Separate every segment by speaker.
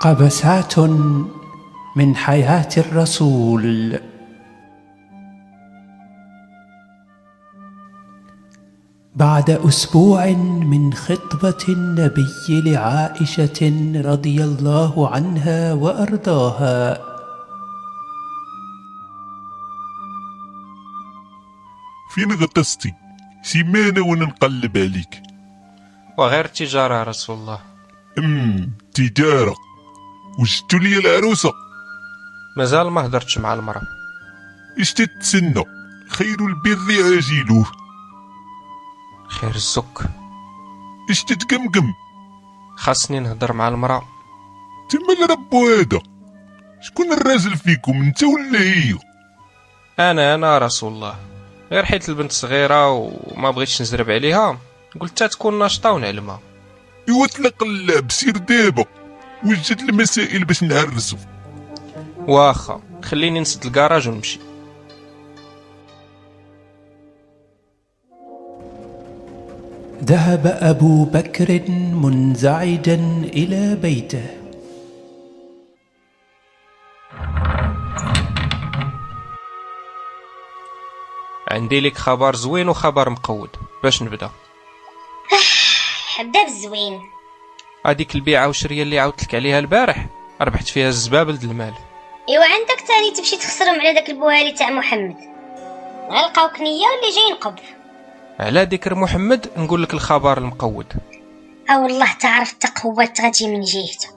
Speaker 1: قبسات من حياه الرسول بعد اسبوع من خطبه النبي لعائشه رضي الله عنها وارضاها
Speaker 2: فين غطستي سيمانة وانا نقلب عليك
Speaker 3: وغير تجارة يا رسول الله
Speaker 2: أم أمم، تجارة وجدتوا لي العروسة
Speaker 3: مازال ما هدرتش مع المرأة
Speaker 2: اش تتسنى خير البر عاجله
Speaker 3: خير الزك
Speaker 2: اش تتقمقم
Speaker 3: خاصني نهضر مع المرأة
Speaker 2: تما الرب هذا شكون الرازل فيكم انت ولا هي
Speaker 3: أنا أنا يا رسول الله غير حيت البنت صغيرة وما بغيتش نزرب عليها قلت تا تكون ناشطة ونعلمها
Speaker 2: ايوا طلق اللعب سير دابا وجد المسائل باش نعرسو
Speaker 3: واخا خليني نسد الكراج ونمشي
Speaker 1: ذهب ابو بكر منزعجا الى بيته
Speaker 3: عندي لك خبر زوين وخبر مقود باش نبدا
Speaker 4: حباب زوين
Speaker 3: هذيك البيعة وشرية اللي عاودتلك عليها البارح ربحت فيها الزبابل د المال
Speaker 4: ايوا عندك تاني تمشي تخسرهم على داك البوهالي تاع محمد غلقاوك نية واللي جاي نقب
Speaker 3: على ذكر محمد نقول لك الخبر المقود
Speaker 4: او والله تعرف التقوات غتجي من جهته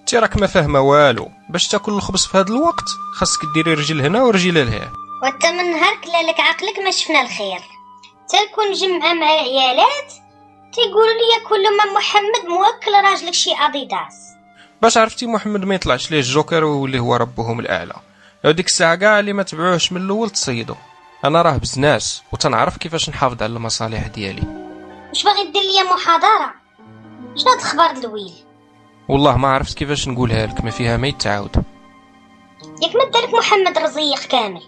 Speaker 3: انت راك ما فاهمه والو باش تاكل الخبز في هذا الوقت خاصك ديري رجل هنا ورجل لهنا
Speaker 4: وانت من نهار كلالك عقلك ما شفنا الخير تلكون مجمعة مع عيالات تيقولوا لي كل ما محمد موكل راجلك شي اديداس
Speaker 3: باش عرفتي محمد ما يطلعش ليه الجوكر ويولي هو ربهم الاعلى هذيك الساعه كاع اللي ما تبعوهش من الاول تصيدو انا راه بزناس وتنعرف كيفاش نحافظ على المصالح ديالي
Speaker 4: واش باغي دير ليا محاضرة شنو هاد الخبر دلويل
Speaker 3: والله ما عرفت كيفاش نقولها لك ما فيها ما يتعاود
Speaker 4: ياك ما دارك محمد رزيق كامل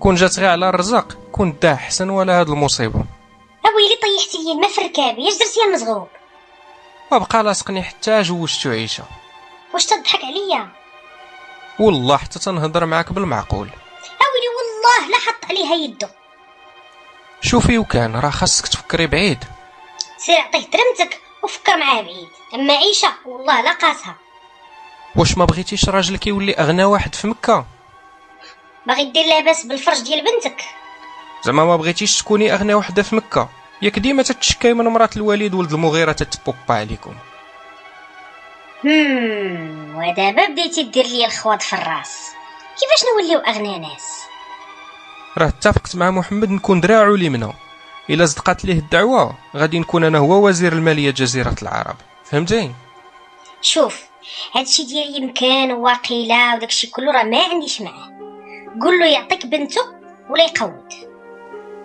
Speaker 3: كون جات غير على الرزق كون دا حسن ولا هاد المصيبه
Speaker 4: اويلي طيحتي لي الماء في ركابي اش درتي يا مزغوب
Speaker 3: وبقى لاصقني حتى جوجت عيشه
Speaker 4: واش تضحك عليا
Speaker 3: والله حتى تنهضر معاك بالمعقول
Speaker 4: اويلي والله لا حط عليها يدو
Speaker 3: شوفي وكان راه خاصك تفكري بعيد
Speaker 4: سير عطيه درمتك وفكر معاه بعيد اما عيشه والله لا قاسها
Speaker 3: واش ما بغيتيش راجلك يولي اغنى واحد في مكه
Speaker 4: باغي دير لاباس بالفرج ديال بنتك
Speaker 3: زعما ما بغيتيش تكوني اغنى وحده في مكه ياك ديما تتشكاي من مرات الوليد ولد المغيره تتبوبا عليكم
Speaker 4: هم ودابا بديتي دير لي الخواض في الراس كيفاش نوليو اغنى ناس
Speaker 3: راه اتفقت مع محمد نكون دراعو اليمنى الا صدقات ليه الدعوه غادي نكون انا هو وزير الماليه جزيره العرب فهمتي
Speaker 4: شوف هادشي ديال يمكن وواقيلا وداكشي كله راه ما عنديش معاه قول له يعطيك بنته ولا يقود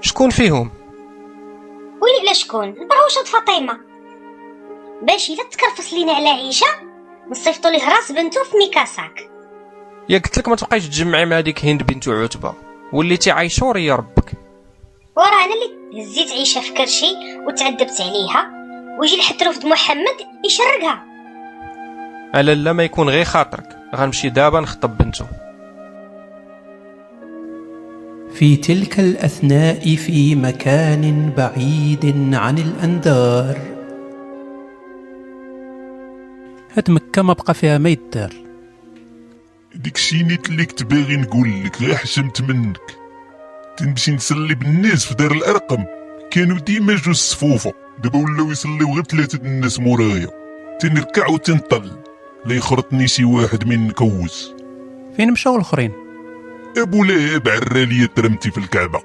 Speaker 3: شكون فيهم
Speaker 4: ويلي على شكون البروشه فاطمه باش الا تكرفس لينا على عيشه نصيفطو ليه راس بنته في ميكاساك
Speaker 3: يا قلت لك ما تبقايش تجمعي مع ديك هند بنت عتبه وليتي عايشور يا ربك
Speaker 4: وراه انا اللي هزيت عيشه في كرشي وتعذبت عليها ويجي الحتروف د محمد يشرقها
Speaker 3: الا لا ما يكون غير خاطرك غنمشي دابا نخطب بنته
Speaker 1: في تلك الاثناء في مكان بعيد عن الانذار هاد مكه ما بقى فيها ما يدار
Speaker 2: ديك الشي نيت اللي كنت باغي نقول لك غير حشمت منك تنمشي نصلي بالناس في دار الارقم كانوا ديما جوج صفوفه دابا ولاو يصليو غير ثلاثه د الناس مورايا تنركع وتنطل لا يخرطني شي واحد من نكوز
Speaker 1: فين مشاو الاخرين
Speaker 2: ابو لهب عرى ليا درمتي في الكعبه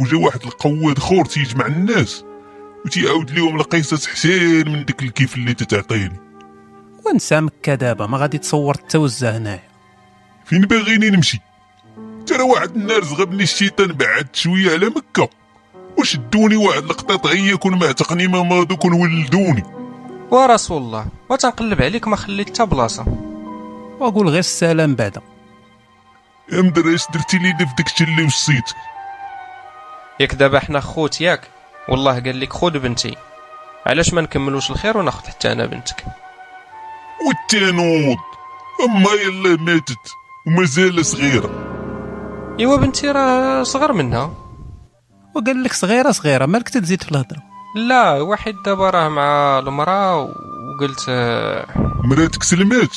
Speaker 2: وجا واحد القواد خور تيجمع الناس وتيعاود ليهم القصص حسين من ديك الكيف اللي تتعطيني
Speaker 1: ونسى مكه دابا ما غادي تصور التوزه هنايا
Speaker 2: فين باغيني نمشي ترى واحد النهار زغبني الشيطان بعد شويه على مكه واش دوني واحد القطاط غيا كون معتقني ما ماضو كون ولدوني
Speaker 3: ورسول الله وتنقلب عليك ما خليت حتى بلاصه
Speaker 1: واقول غير السلام بعدا
Speaker 2: امدر اش درتي لينا في داكشي اللي وصيت
Speaker 3: ياك دابا حنا خوت ياك والله قال لك خود بنتي علاش ما نكملوش الخير وناخذ حتى انا بنتك
Speaker 2: والتنوض اما يلا ماتت ومازال صغيره
Speaker 3: ايوا بنتي راه صغر منها
Speaker 1: وقال لك صغيره صغيره مالك تزيد في الهضره
Speaker 3: لا واحد دابا راه مع المراه وقلت آه،
Speaker 2: مراتك سلمات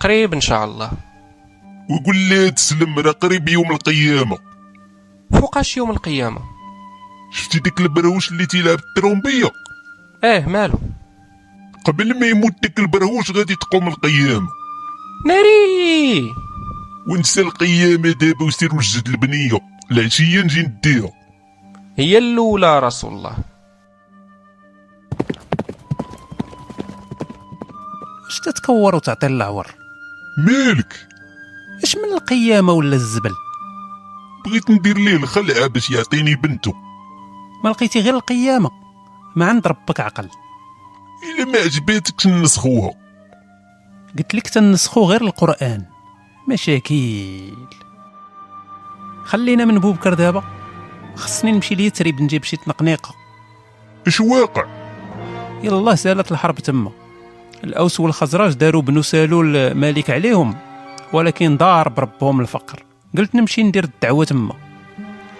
Speaker 3: قريب ان شاء الله
Speaker 2: وقول لها تسلم راه قريب يوم القيامه
Speaker 3: فوقاش يوم القيامه
Speaker 2: شفتي ديك البرهوش اللي تيلعب الترومبيه
Speaker 3: اه مالو
Speaker 2: قبل ما يموت ديك البرهوش غادي تقوم القيامه
Speaker 3: ناري
Speaker 2: ونسى القيامه دابا وسير وجد البنيه العشيه نجي نديها
Speaker 3: هي الاولى رسول الله
Speaker 1: اش تتكور وتعطي العور
Speaker 2: مالك
Speaker 1: اش من القيامه ولا الزبل
Speaker 2: بغيت ندير ليه الخلعه باش يعطيني بنته
Speaker 1: ما لقيتي غير القيامه ما عند ربك عقل
Speaker 2: الا ما عجباتكش نسخوها
Speaker 1: قلت لك تنسخو غير القران مشاكل خلينا من بوبكر دابا خصني نمشي ليتريب نجيب شي تنقنيقه
Speaker 2: اش واقع
Speaker 1: يلا سالت الحرب تما الاوس والخزرج داروا بنو سالول مالك عليهم ولكن دار بربهم الفقر قلت نمشي ندير الدعوه تما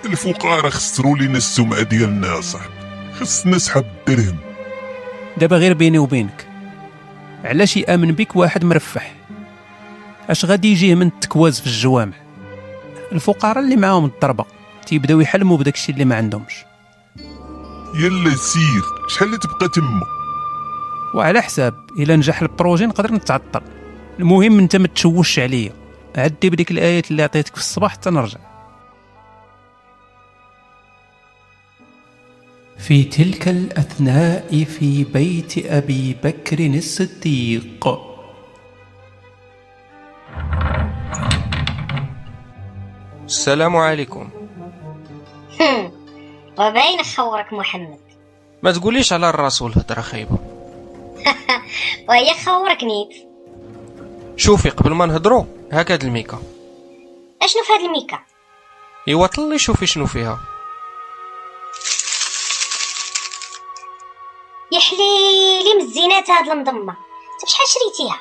Speaker 2: الفقراء خسروا لينا السمعه ديالنا صاحبي خصنا نسحب الدرهم
Speaker 1: دابا غير بيني وبينك علاش يامن بك واحد مرفح اش غادي يجيه من التكواز في الجوامع الفقراء اللي معاهم الضربه تيبداو يحلموا بداك الشيء اللي ما عندهمش
Speaker 2: يلا سير شحال تبقى تما
Speaker 1: وعلى حساب الا نجح البروجي نقدر نتعطل المهم انت ما تشوش عليا عدي بديك الايات اللي عطيتك في الصباح حتى نرجع في تلك الاثناء في بيت ابي بكر الصديق
Speaker 3: السلام عليكم
Speaker 4: هم. وباين خورك محمد
Speaker 3: ما تقوليش على الرسول هضره خايبه
Speaker 4: وهي خورك نيت
Speaker 3: شوفي قبل ما نهضروا هكا الميكا
Speaker 4: اشنو في هاد الميكا
Speaker 3: ايوا طلي شوفي شنو فيها
Speaker 4: يا حليلي من الزينات هاد المضمه انت بشحال شريتيها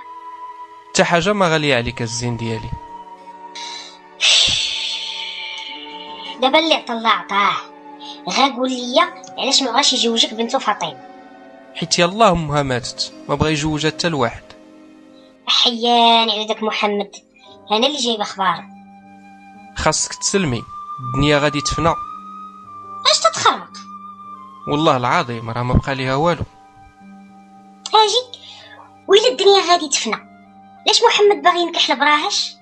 Speaker 3: حتى حاجه ما غاليه عليك الزين ديالي
Speaker 4: دابا اللي عطا الله عطاه غا قول ليا علاش ما بغاش يجوجك بنتو فاطمه
Speaker 3: حيت يلاه امها ماتت ما بغى يجوجها حتى لواحد
Speaker 4: حياني على داك محمد انا اللي جايبه اخبار
Speaker 3: خاصك تسلمي الدنيا غادي تفنى
Speaker 4: اش تتخرق
Speaker 3: والله العظيم راه ما بقى ليها والو
Speaker 4: اجي ويلا الدنيا غادي تفنى علاش محمد باغي ينكح لبراهش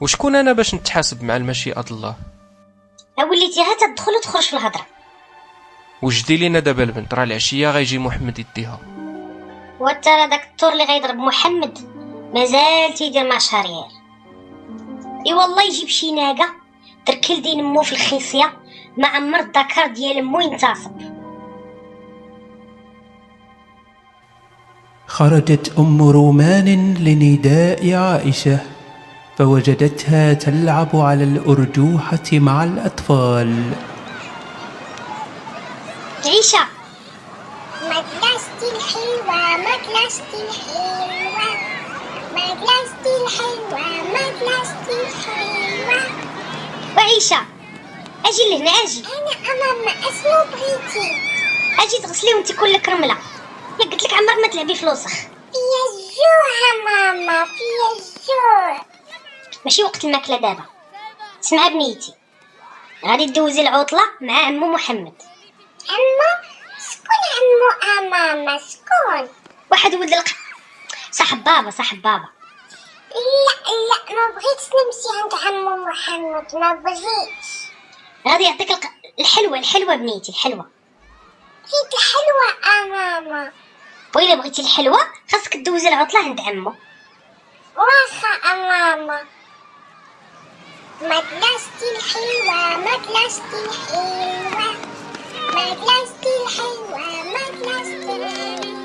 Speaker 3: وشكون انا باش نتحاسب مع المشيئه د الله
Speaker 4: وليتي غا تدخل وتخرج في الهضره
Speaker 3: وجدي لينا دابا البنت راه العشيه غيجي محمد يديها
Speaker 4: وانت راه داك الطور اللي غيضرب محمد مازال تيدير مع شهريار اي والله يجيب شي ناقه تركل دين مو في الخيصيه ما عمر الذكر ديال مو ينتصب
Speaker 1: خرجت ام رومان لنداء عائشه فوجدتها تلعب على الارجوحه مع الاطفال
Speaker 4: عيشه
Speaker 5: مدرستي الحلوة مدرستي الحلوة مدرستي الحلوة مدرستي الحلوة
Speaker 4: وعيشه اجي لهنا اجي
Speaker 5: أنا أمام اسمه بريتي
Speaker 4: اجي تغسلي وانت كلك رمله يا قلت لك عمرك ما تلعبي في الوسخ
Speaker 5: فيا الجوع ماما فيا الجوع
Speaker 4: ماشي وقت الماكله دابا اسمع بنيتي غادي تدوزي العطله مع عمو محمد
Speaker 5: أمو سكون أمو أماما سكون
Speaker 4: واحد ولد الق صاحب بابا صاحب بابا
Speaker 5: لا لا ما بغيتش نمشي عند عمو محمد ما بغيتش
Speaker 4: غادي يعطيك الق... الحلوه الحلوه بنيتي الحلوه
Speaker 5: بغيت الحلوة أماما
Speaker 4: وإلا بغيتي الحلوه خاصك تدوزي العطله عند عمو
Speaker 5: واخا أماما مدرستي الحلوة مدرستي الحلوة مدرستي الحلوة مدرستي الحلوة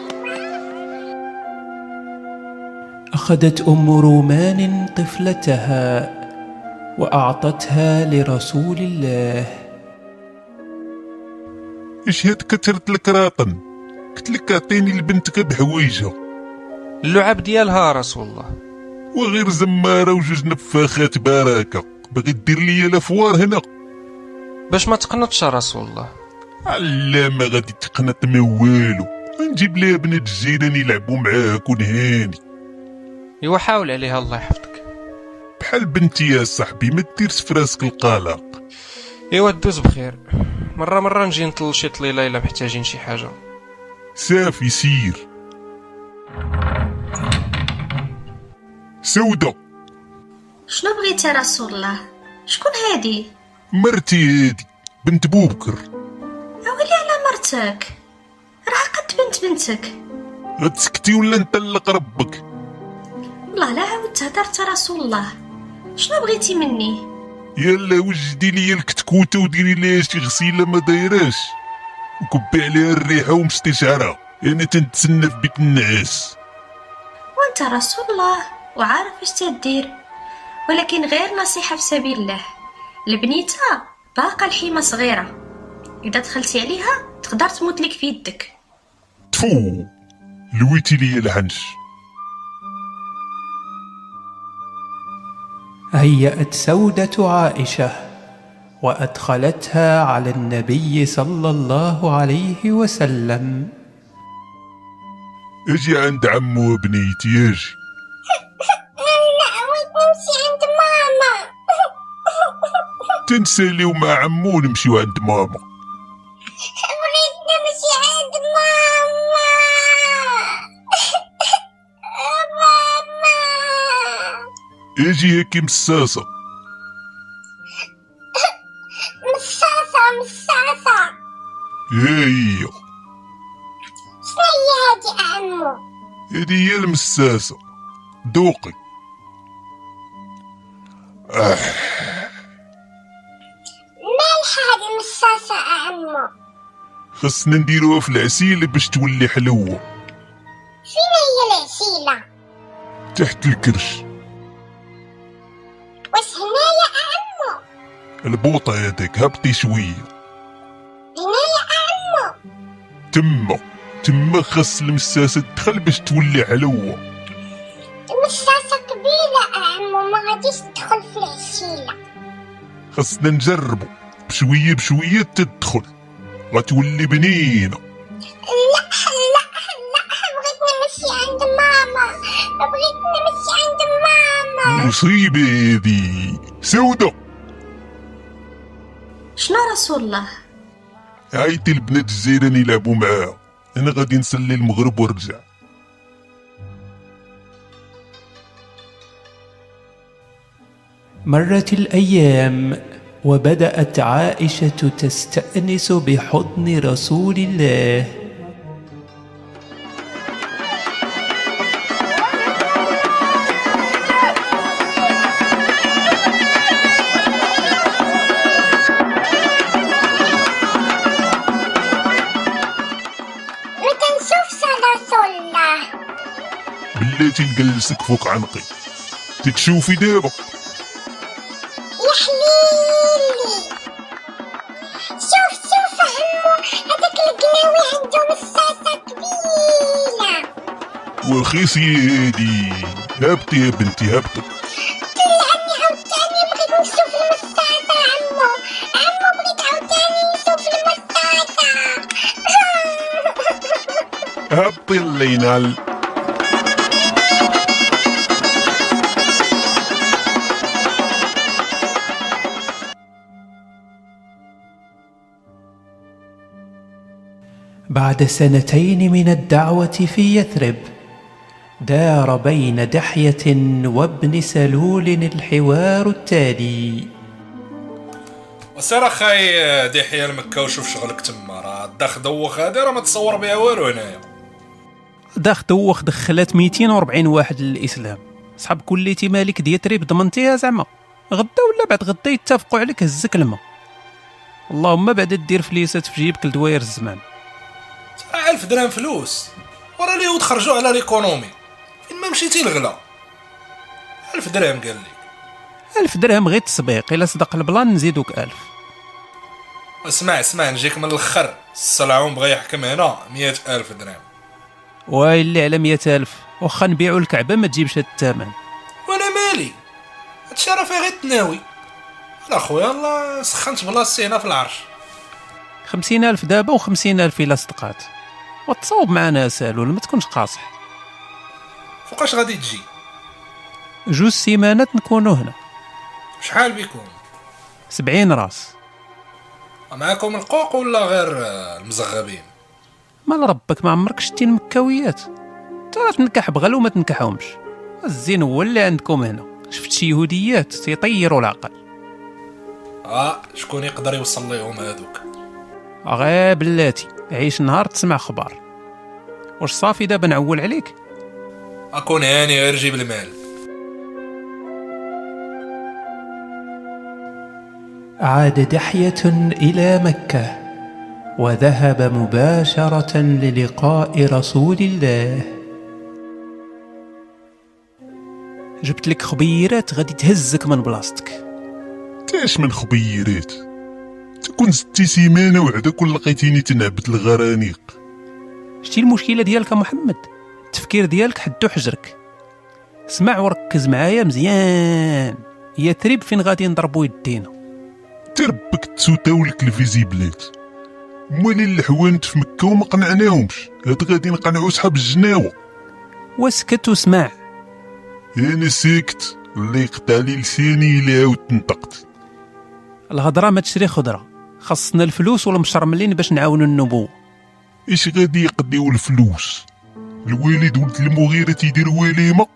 Speaker 1: أخذت أم رومان طفلتها وأعطتها لرسول الله
Speaker 2: اش هاد كثرت الكراطن قلت لك اعطيني لبنتك بحوايجها
Speaker 3: اللعاب ديالها رسول الله
Speaker 2: وغير زماره وجوج نفاخات باركه باغي دير ليا الافوار هنا
Speaker 3: باش ما تقنطش يا رسول الله
Speaker 2: لا ما غادي تقنط ما والو نجيب ليها بنات الجيران يلعبوا معاه كون هاني
Speaker 3: ايوا حاول عليها الله يحفظك
Speaker 2: بحال بنتي يا صاحبي ما ديرش في راسك القلق
Speaker 3: ايوا دوز بخير مره مره نجي نطل شي طليله الا محتاجين شي حاجه
Speaker 2: صافي سير سودة
Speaker 6: شنو بغيتي يا رسول الله شكون هادي
Speaker 2: مرتي هادي بنت بوبكر
Speaker 6: اولي على مرتك راه قد بنت بنتك
Speaker 2: غتسكتي ولا نطلق ربك
Speaker 6: والله لا عاود تهدرت يا رسول الله شنو بغيتي مني
Speaker 2: يلا وجدي ليا الكتكوته وديري ليها شي غسيله ما دايراش وكبي عليها الريحه ومشطي شعرها انا تنتسنى في بيت النعاس
Speaker 6: وانت يا رسول الله وعارف اش تدير ولكن غير نصيحه في سبيل الله البنيته باقا الحيمه صغيره اذا دخلتي عليها تقدر تموت لك في يدك
Speaker 2: تفو لويتي ليا العنش
Speaker 1: هيأت سودة عائشة وأدخلتها على النبي صلى الله عليه وسلم
Speaker 2: اجي عند عمو بنيتي اجي
Speaker 5: لا عاود نمشي عند ماما
Speaker 2: تنساليو مع عمو نمشيو عند ماما
Speaker 5: بغيت نمشي عند ماما ماما
Speaker 2: اجي هكي مساسه
Speaker 5: مصاصة مصاصة
Speaker 2: ها هي
Speaker 5: شنو هي هادي طيب عمو
Speaker 2: هادي هي المساسه دوقي
Speaker 5: مالحة هادي المصاصة عمو
Speaker 2: خصنا نديروها في العسيل باش تولي حلوه
Speaker 5: فين هي العسيلة
Speaker 2: تحت الكرش
Speaker 5: واش هنايا عمو
Speaker 2: البوطه هذاك هبطي شويه
Speaker 5: هنايا عمو
Speaker 2: تما تما خص المساسه تدخل باش تولي حلوه
Speaker 5: المصاصة كبيرة عمو ما غاديش تدخل في العسيلة
Speaker 2: خصنا نجربو بشويه بشويه تدخل غتولي بنينه
Speaker 5: لا لا لا بغيت نمشي عند ماما بغيت نمشي عند ماما
Speaker 2: مصيبه هذه سوده
Speaker 6: شنو رسول الله
Speaker 2: عيطي البنات الجيران يلعبوا معاها انا غادي نصلي المغرب ونرجع
Speaker 1: مرت الأيام وبدأت عائشة تستأنس بحضن رسول الله
Speaker 5: ما تنشوف صلاة الله
Speaker 2: بلاتي نجلسك فوق عنقي تتشوفي دابا
Speaker 5: يا حليلي شوف شوف عمو هذاك القناوي عنده مصاصة كبيرة
Speaker 2: وخيسي هادي هبطي يا بنتي هبطي
Speaker 5: طلعني عاوتاني بغيت نشوف المصاصة عمو عمو بغيت عاوتاني نشوف المصاصة
Speaker 2: هبطي الله ينال
Speaker 1: بعد سنتين من الدعوة في يثرب دار بين دحية وابن سلول الحوار التالي
Speaker 7: وسير اخاي دحية لمكة وشوف شغلك تما راه الدخ دوخ هادي راه ما تصور بها والو هنايا
Speaker 1: داخ دوخ دخلات 240 واحد للإسلام صحاب كليتي مالك ديتريب ضمنتيها زعما غدا ولا بعد غدا يتفقوا عليك هزك الماء اللهم بعد دير فليسات في جيبك لدواير الزمان
Speaker 7: راه 1000 درهم فلوس ورا اليهود خرجوا على ليكونومي فين ما مشيتي الغلا 1000 درهم قال لي
Speaker 1: ألف درهم غير تسبيق إلا صدق البلان نزيدوك ألف
Speaker 7: اسمع اسمع نجيك من الاخر السلعون بغا يحكم هنا مئة ألف درهم
Speaker 1: ويلي على مئة ألف واخا نبيعو الكعبه ما تجيبش هاد الثمن
Speaker 7: وانا مالي هادشي راه فيه غير التناوي لا خويا الله سخنت بلاصتي هنا في العرش
Speaker 1: خمسين ألف دابا وخمسين ألف إلا صدقات وتصاوب معنا سالول ما تكونش قاصح
Speaker 7: فوقاش غادي تجي
Speaker 1: جوج سيمانات نكونو هنا
Speaker 7: شحال بيكون
Speaker 1: سبعين راس
Speaker 7: معاكم القوق ولا غير آه، المزغبين
Speaker 1: مال ربك ما عمرك شتي المكاويات ترى تنكح بغل وما تنكحهمش الزين هو اللي عندكم هنا شفت شي يهوديات تيطيروا العقل
Speaker 7: اه شكون يقدر يوصل ليهم هادوك
Speaker 1: غير بلاتي عيش نهار تسمع خبار واش صافي دابا نعول عليك
Speaker 7: اكون هاني غير جيب المال
Speaker 8: عاد دحية إلى مكة وذهب مباشرة للقاء رسول الله
Speaker 1: جبت لك خبيرات غادي تهزك من بلاصتك
Speaker 2: تاش من خبيرات تكون ستي سيمانه وعدا كل لقيتيني تنعبد الغرانيق
Speaker 1: شتي المشكله ديالك يا محمد التفكير ديالك حدو حجرك اسمع وركز معايا مزيان يثرب فين غادي نضربو يدينا
Speaker 2: تربك تسوتاولك الفيزيبلات مالي الحوانت في مكه وما قنعناهمش هاد غادي نقنعو صحاب الجناوه
Speaker 1: واسكت واسمع
Speaker 2: انا ساكت اللي يقطع لي لساني الا عاودت نطقت
Speaker 1: الهضره ما تشري خضره خاصنا الفلوس والمشرملين باش نعاونوا النبوه
Speaker 2: اش غادي يقضيو الفلوس الوالد ولد المغيره تيدير وليمه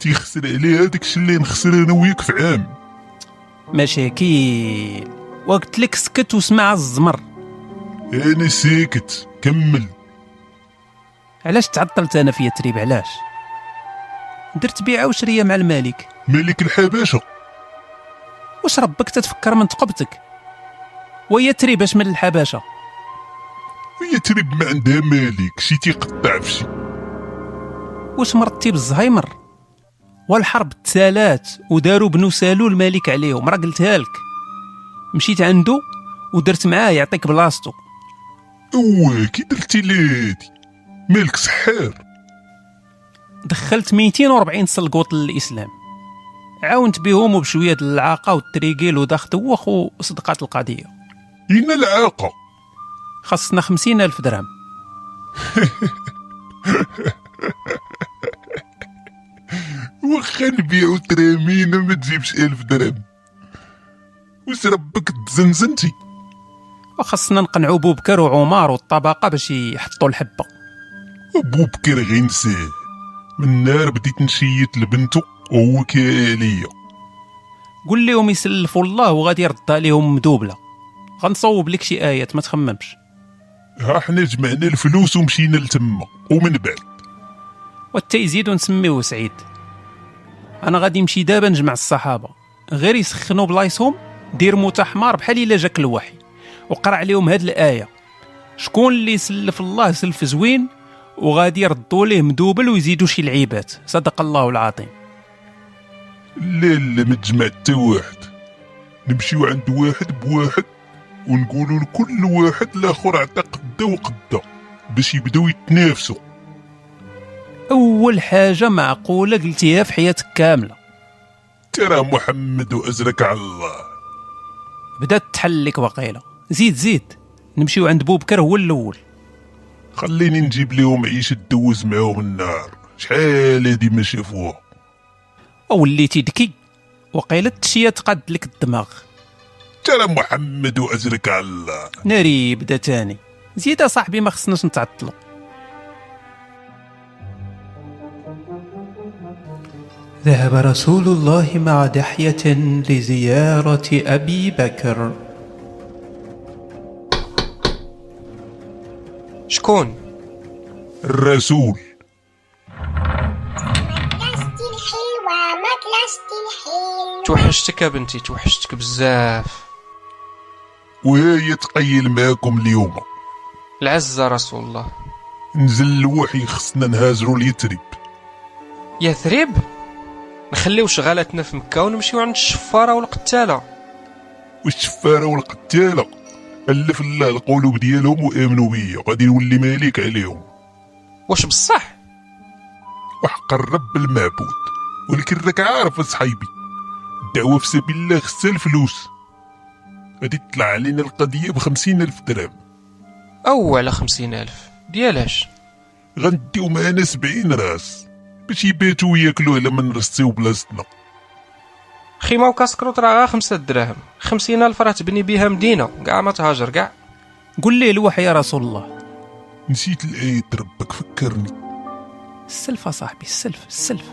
Speaker 2: تيخسر عليها داكشي اللي نخسر انا وياك في عام
Speaker 1: مشاكل وقلت لك سكت واسمع الزمر
Speaker 2: انا ساكت كمل
Speaker 1: علاش تعطلت انا في يثرب علاش درت بيعه وشريه مع المالك
Speaker 2: مالك الحباشه
Speaker 1: واش ربك تتفكر من تقبتك ويثرب اش من الحبشه
Speaker 2: وهي ترب ما عندها مالك شي تيقطع في شي
Speaker 1: واش مرضتي بالزهايمر والحرب تسالات وداروا بنو سالو الملك عليهم راه قلتها لك مشيت عنده ودرت معاه يعطيك بلاصتو
Speaker 2: اوا كي درتي لادي مالك سحار
Speaker 1: دخلت 240 سلقوط للاسلام عاونت بهم وبشويه د العاقه والتريكيل وداخ دوخ وصدقات القضيه
Speaker 2: هنا العاقه
Speaker 1: خاصنا 50 الف درهم
Speaker 2: واخا نبيعو ترامينا ما تجيبش ألف درهم واش ربك تزنزنتي
Speaker 1: وخاصنا نقنعو بوبكر وعمار والطبقه باش يحطوا الحبه
Speaker 2: ابو بكر غينساه من النهار بديت نشيت لبنته وهو كيها عليا
Speaker 1: قول لهم يسلفوا الله وغادي يرد عليهم مدوبله غنصوب لك شي ايات ما تخممش
Speaker 2: ها حنا جمعنا الفلوس ومشينا لتما ومن بعد
Speaker 1: وحتى يزيد نسميوه سعيد انا غادي نمشي دابا نجمع الصحابه غير يسخنوا بلايصهم دير موت حمار بحال الا جاك الوحي وقرا عليهم هاد الايه شكون اللي سلف الله سلف زوين وغادي يردوا ليه مدوبل ويزيدوا شي لعيبات صدق الله العظيم
Speaker 2: لا لا ما تجمع حتى واحد نمشيو عند واحد بواحد ونقولوا لكل واحد الاخر عطى قده وقده باش يبداو يتنافسوا
Speaker 1: اول حاجه معقوله قلتيها في حياتك كامله
Speaker 2: ترى محمد وازرك على الله
Speaker 1: بدات تحل لك وقيله زيد زيد نمشيو عند بوبكر هو الاول
Speaker 2: خليني نجيب لهم عيش دوز معاهم النار شحال هادي ما شافوها
Speaker 1: وليتي ذكي وقيله التشيه تقاد لك الدماغ
Speaker 2: ترى محمد وازرك على الله
Speaker 1: ناري بدا تاني زيد صاحبي ما خصناش نتعطلو
Speaker 8: ذهب رسول الله مع دحية لزيارة أبي بكر
Speaker 3: شكون
Speaker 2: الرسول
Speaker 5: ماكلاشتي الحلوة ماكلاشتي الحلوة
Speaker 3: توحشتك يا بنتي توحشتك بزاف
Speaker 2: وهي تقيل معاكم اليوم
Speaker 3: العزة رسول الله
Speaker 2: نزل الوحي خصنا نهازرو اليتريب
Speaker 3: يثرب نخليو شغالتنا في مكة ونمشيو عند الشفارة والقتالة
Speaker 2: والشفاره والقتاله الف الله القلوب ديالهم وامنوا بيا غادي نولي مالك عليهم
Speaker 3: واش بصح
Speaker 2: وحق الرب المعبود ولكن راك عارف اصحيبي الدعوة في سبيل الله خصها الفلوس غادي تطلع علينا القضية بخمسين ألف درهم
Speaker 3: أو على خمسين ألف ديالاش
Speaker 2: غنديو معانا سبعين راس باش يباتو وياكلوه لما نرستيو بلاصتنا
Speaker 3: خيمة وكاسكروت راه غا خمسة دراهم خمسين ألف راه تبني بيها مدينة كاع ما تهاجر كاع
Speaker 1: قل ليه الوحي يا رسول الله
Speaker 2: نسيت الآية ربك فكرني
Speaker 1: السلف صاحبي السلف السلف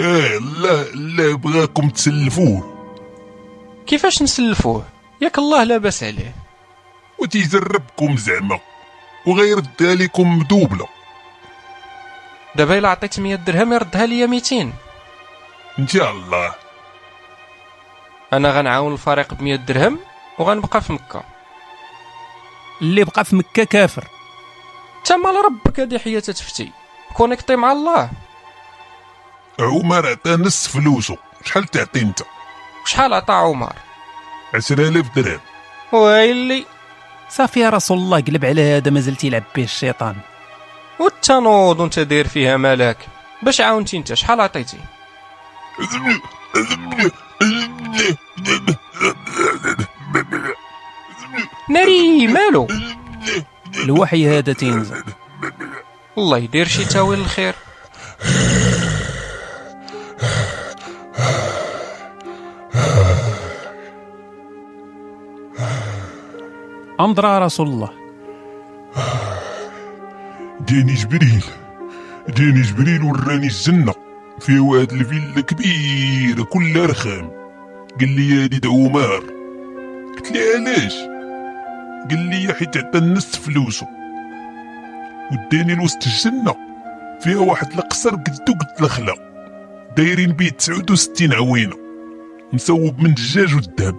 Speaker 2: آه الله الله بغاكم تسلفوه
Speaker 3: كيفاش نسلفوه ياك الله لاباس عليه
Speaker 2: وتيجربكم زعما وغير لكم مدوبلة
Speaker 3: دابا الا عطيت 100 درهم يردها ليا 200
Speaker 2: إن شاء الله
Speaker 3: انا غنعاون الفريق ب 100 درهم وغنبقى في مكه
Speaker 1: اللي بقى في مكة كافر
Speaker 3: تما لربك هادي حياة تفتي كونيكتي مع الله
Speaker 2: عمر عطا نص فلوسه شحال تعطي انت
Speaker 3: وشحال عطا عمر
Speaker 2: عشرة آلاف درهم
Speaker 3: ويلي
Speaker 1: صافي يا رسول الله قلب على هذا مازال تيلعب به الشيطان
Speaker 3: والتنوض وانت داير فيها ملاك باش عاونتي انت شحال عطيتي ناري مالو
Speaker 1: الوحي هذا تينزل
Speaker 3: الله يدير شي تاويل الخير
Speaker 1: أمضر يا رسول الله
Speaker 2: جاني جبريل جاني جبريل وراني الجنة فيها واحد الفيلا كبيرة كلها رخام قال لي هادي دعوة مهر قلت لي علاش قال لي حيت عطا الناس فلوسه وداني لوسط الجنة فيها واحد القصر قدو قد الخلا دايرين بيه 69 عوينة مسوب من الدجاج والذهب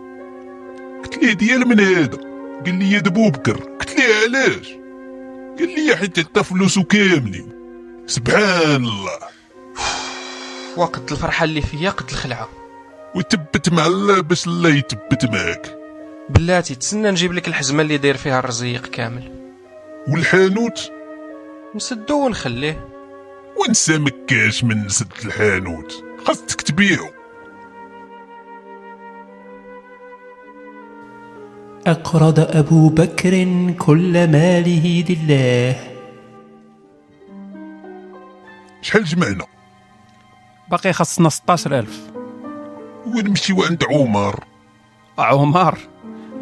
Speaker 2: قلت ليه ديال من هذا قال لي دبو بكر قلت ليه علاش قال لي حيت عطا فلوسو كاملين سبحان الله
Speaker 3: وقت الفرحة اللي فيا قد الخلعة
Speaker 2: وتبت مع الله باش الله يتبت معاك
Speaker 3: بلاتي تسنى نجيب لك الحزمة اللي داير فيها الرزيق كامل
Speaker 2: والحانوت
Speaker 3: نسدو ونخليه
Speaker 2: ونسى مكاش من سد الحانوت خاصك تبيعو
Speaker 8: أقرض أبو بكر كل ماله لله
Speaker 2: شحال جمعنا
Speaker 1: باقي خاصنا 16000
Speaker 2: ونمشيو عند عمر
Speaker 1: آه، عمر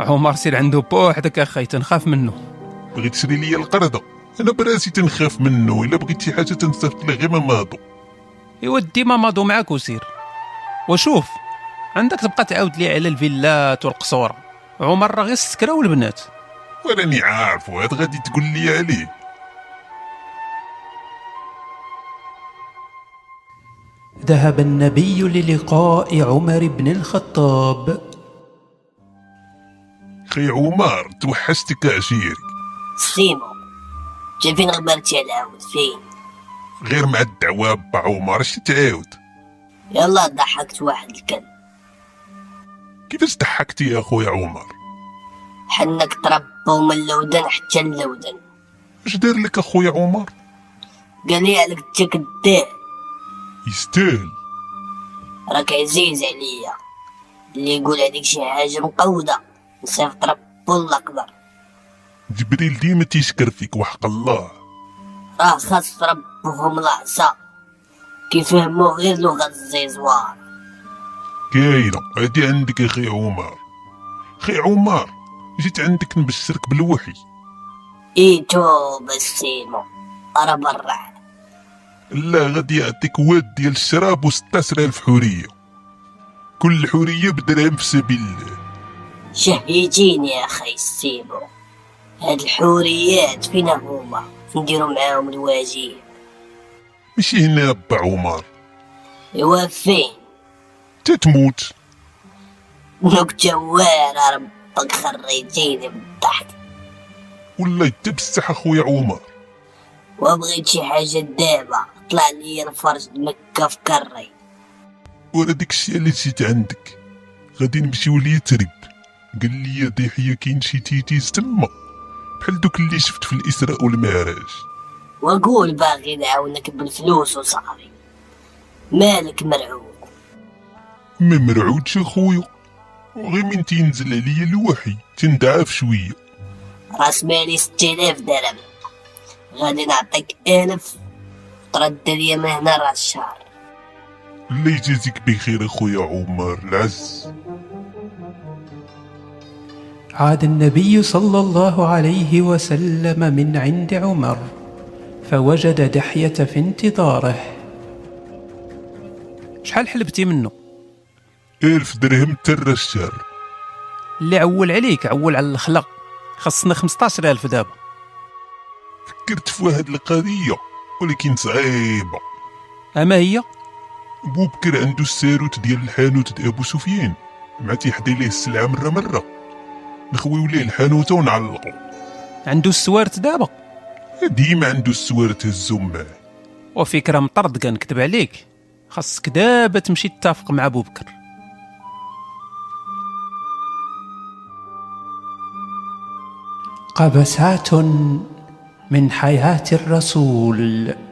Speaker 1: آه، عمر سير عنده بوحدك اخي تنخاف منه
Speaker 2: بغيت تشري ليا القرضة انا براسي تنخاف منه الا بغيت شي حاجه تنصيفط لها غير ماضو
Speaker 1: ايوا ديما ماضو معاك وسير وشوف عندك تبقى تعاود لي على الفيلات والقصور عمر راه غير السكره والبنات
Speaker 2: وراني عارف هاد غادي تقول لي عليه
Speaker 8: ذهب النبي للقاء عمر بن الخطاب
Speaker 2: خي عمر توحشتك عشيري
Speaker 9: سيمو جا فين غبرتي على عاود فين
Speaker 2: غير مع الدعوة با عمر اش تعاود
Speaker 9: يلا ضحكت واحد الكلب
Speaker 2: كيفاش ضحكتي يا خويا عمر
Speaker 9: حنك تربى من لودن حتى اللودن
Speaker 2: اش دار لك اخويا عمر
Speaker 9: قال لي عليك انت كداب
Speaker 2: يستاهل
Speaker 9: راك عزيز عليا اللي يقول عليك شي حاجه مقوده نصيفط ربو الله اكبر
Speaker 2: جبريل ديما تيشكر فيك وحق الله
Speaker 9: راه خاص ربهم العصا كيفهمو غير لغه الزيزوار
Speaker 2: كاينة هادي عندك يا خي عمر خي عمر جيت عندك نبشرك بالوحي
Speaker 9: ايتو بسيمو انا برا
Speaker 2: الله غادي يعطيك واد ديال الشراب و16 الف حورية كل حورية بدرهم في سبيل الله
Speaker 9: شهيتيني يا اخي سيمو هاد الحوريات فين هما نديرو معاهم الواجب
Speaker 2: ماشي هنا با عمر
Speaker 9: ايوا فين
Speaker 2: تتموت
Speaker 9: نكتة واعرة ربك خريتيني بالضحك
Speaker 2: ولا يتبسح اخويا عمر
Speaker 9: وبغيت شي حاجة دابا طلع لي الفرج مكة في كري
Speaker 2: ورا داك الشيء اللي جيت عندك غادي نمشيو ليترب قال لي ضحية كاين شي تيتيز تما بحال دوك اللي شفت في الإسراء والمعراج
Speaker 9: وقول باغي نعاونك بالفلوس وصافي مالك مرعوب
Speaker 2: ما مرعودش اخويا غير من تينزل عليا الوحي تندعف شويه
Speaker 9: راس مالي 6000 درهم غادي نعطيك 1000 ترد ليا من هنا راس الشهر
Speaker 2: الله يجازيك بخير اخويا عمر العز
Speaker 8: عاد النبي صلى الله عليه وسلم من عند عمر فوجد دحية في انتظاره
Speaker 1: شحال حلبتي منه
Speaker 2: ألف درهم ترى الشهر
Speaker 1: اللي عول عليك عول على الخلا خصنا 15000 دابا
Speaker 2: فكرت في واحد القضية ولكن صعيبة
Speaker 1: اما هي
Speaker 2: بوبكر عنده الساروت ديال الحانوت ديال أبو سفيان مع تيحدي ليه السلعة مرة مرة نخويو ليه الحانوتة ونعلقو
Speaker 1: عنده السوارت دابا
Speaker 2: ديما عنده السوارت هزهم معاه
Speaker 1: وفكره مطرد كنكذب عليك خاصك دابا تمشي تتفق مع بوبكر
Speaker 8: قبسات من حياة الرسول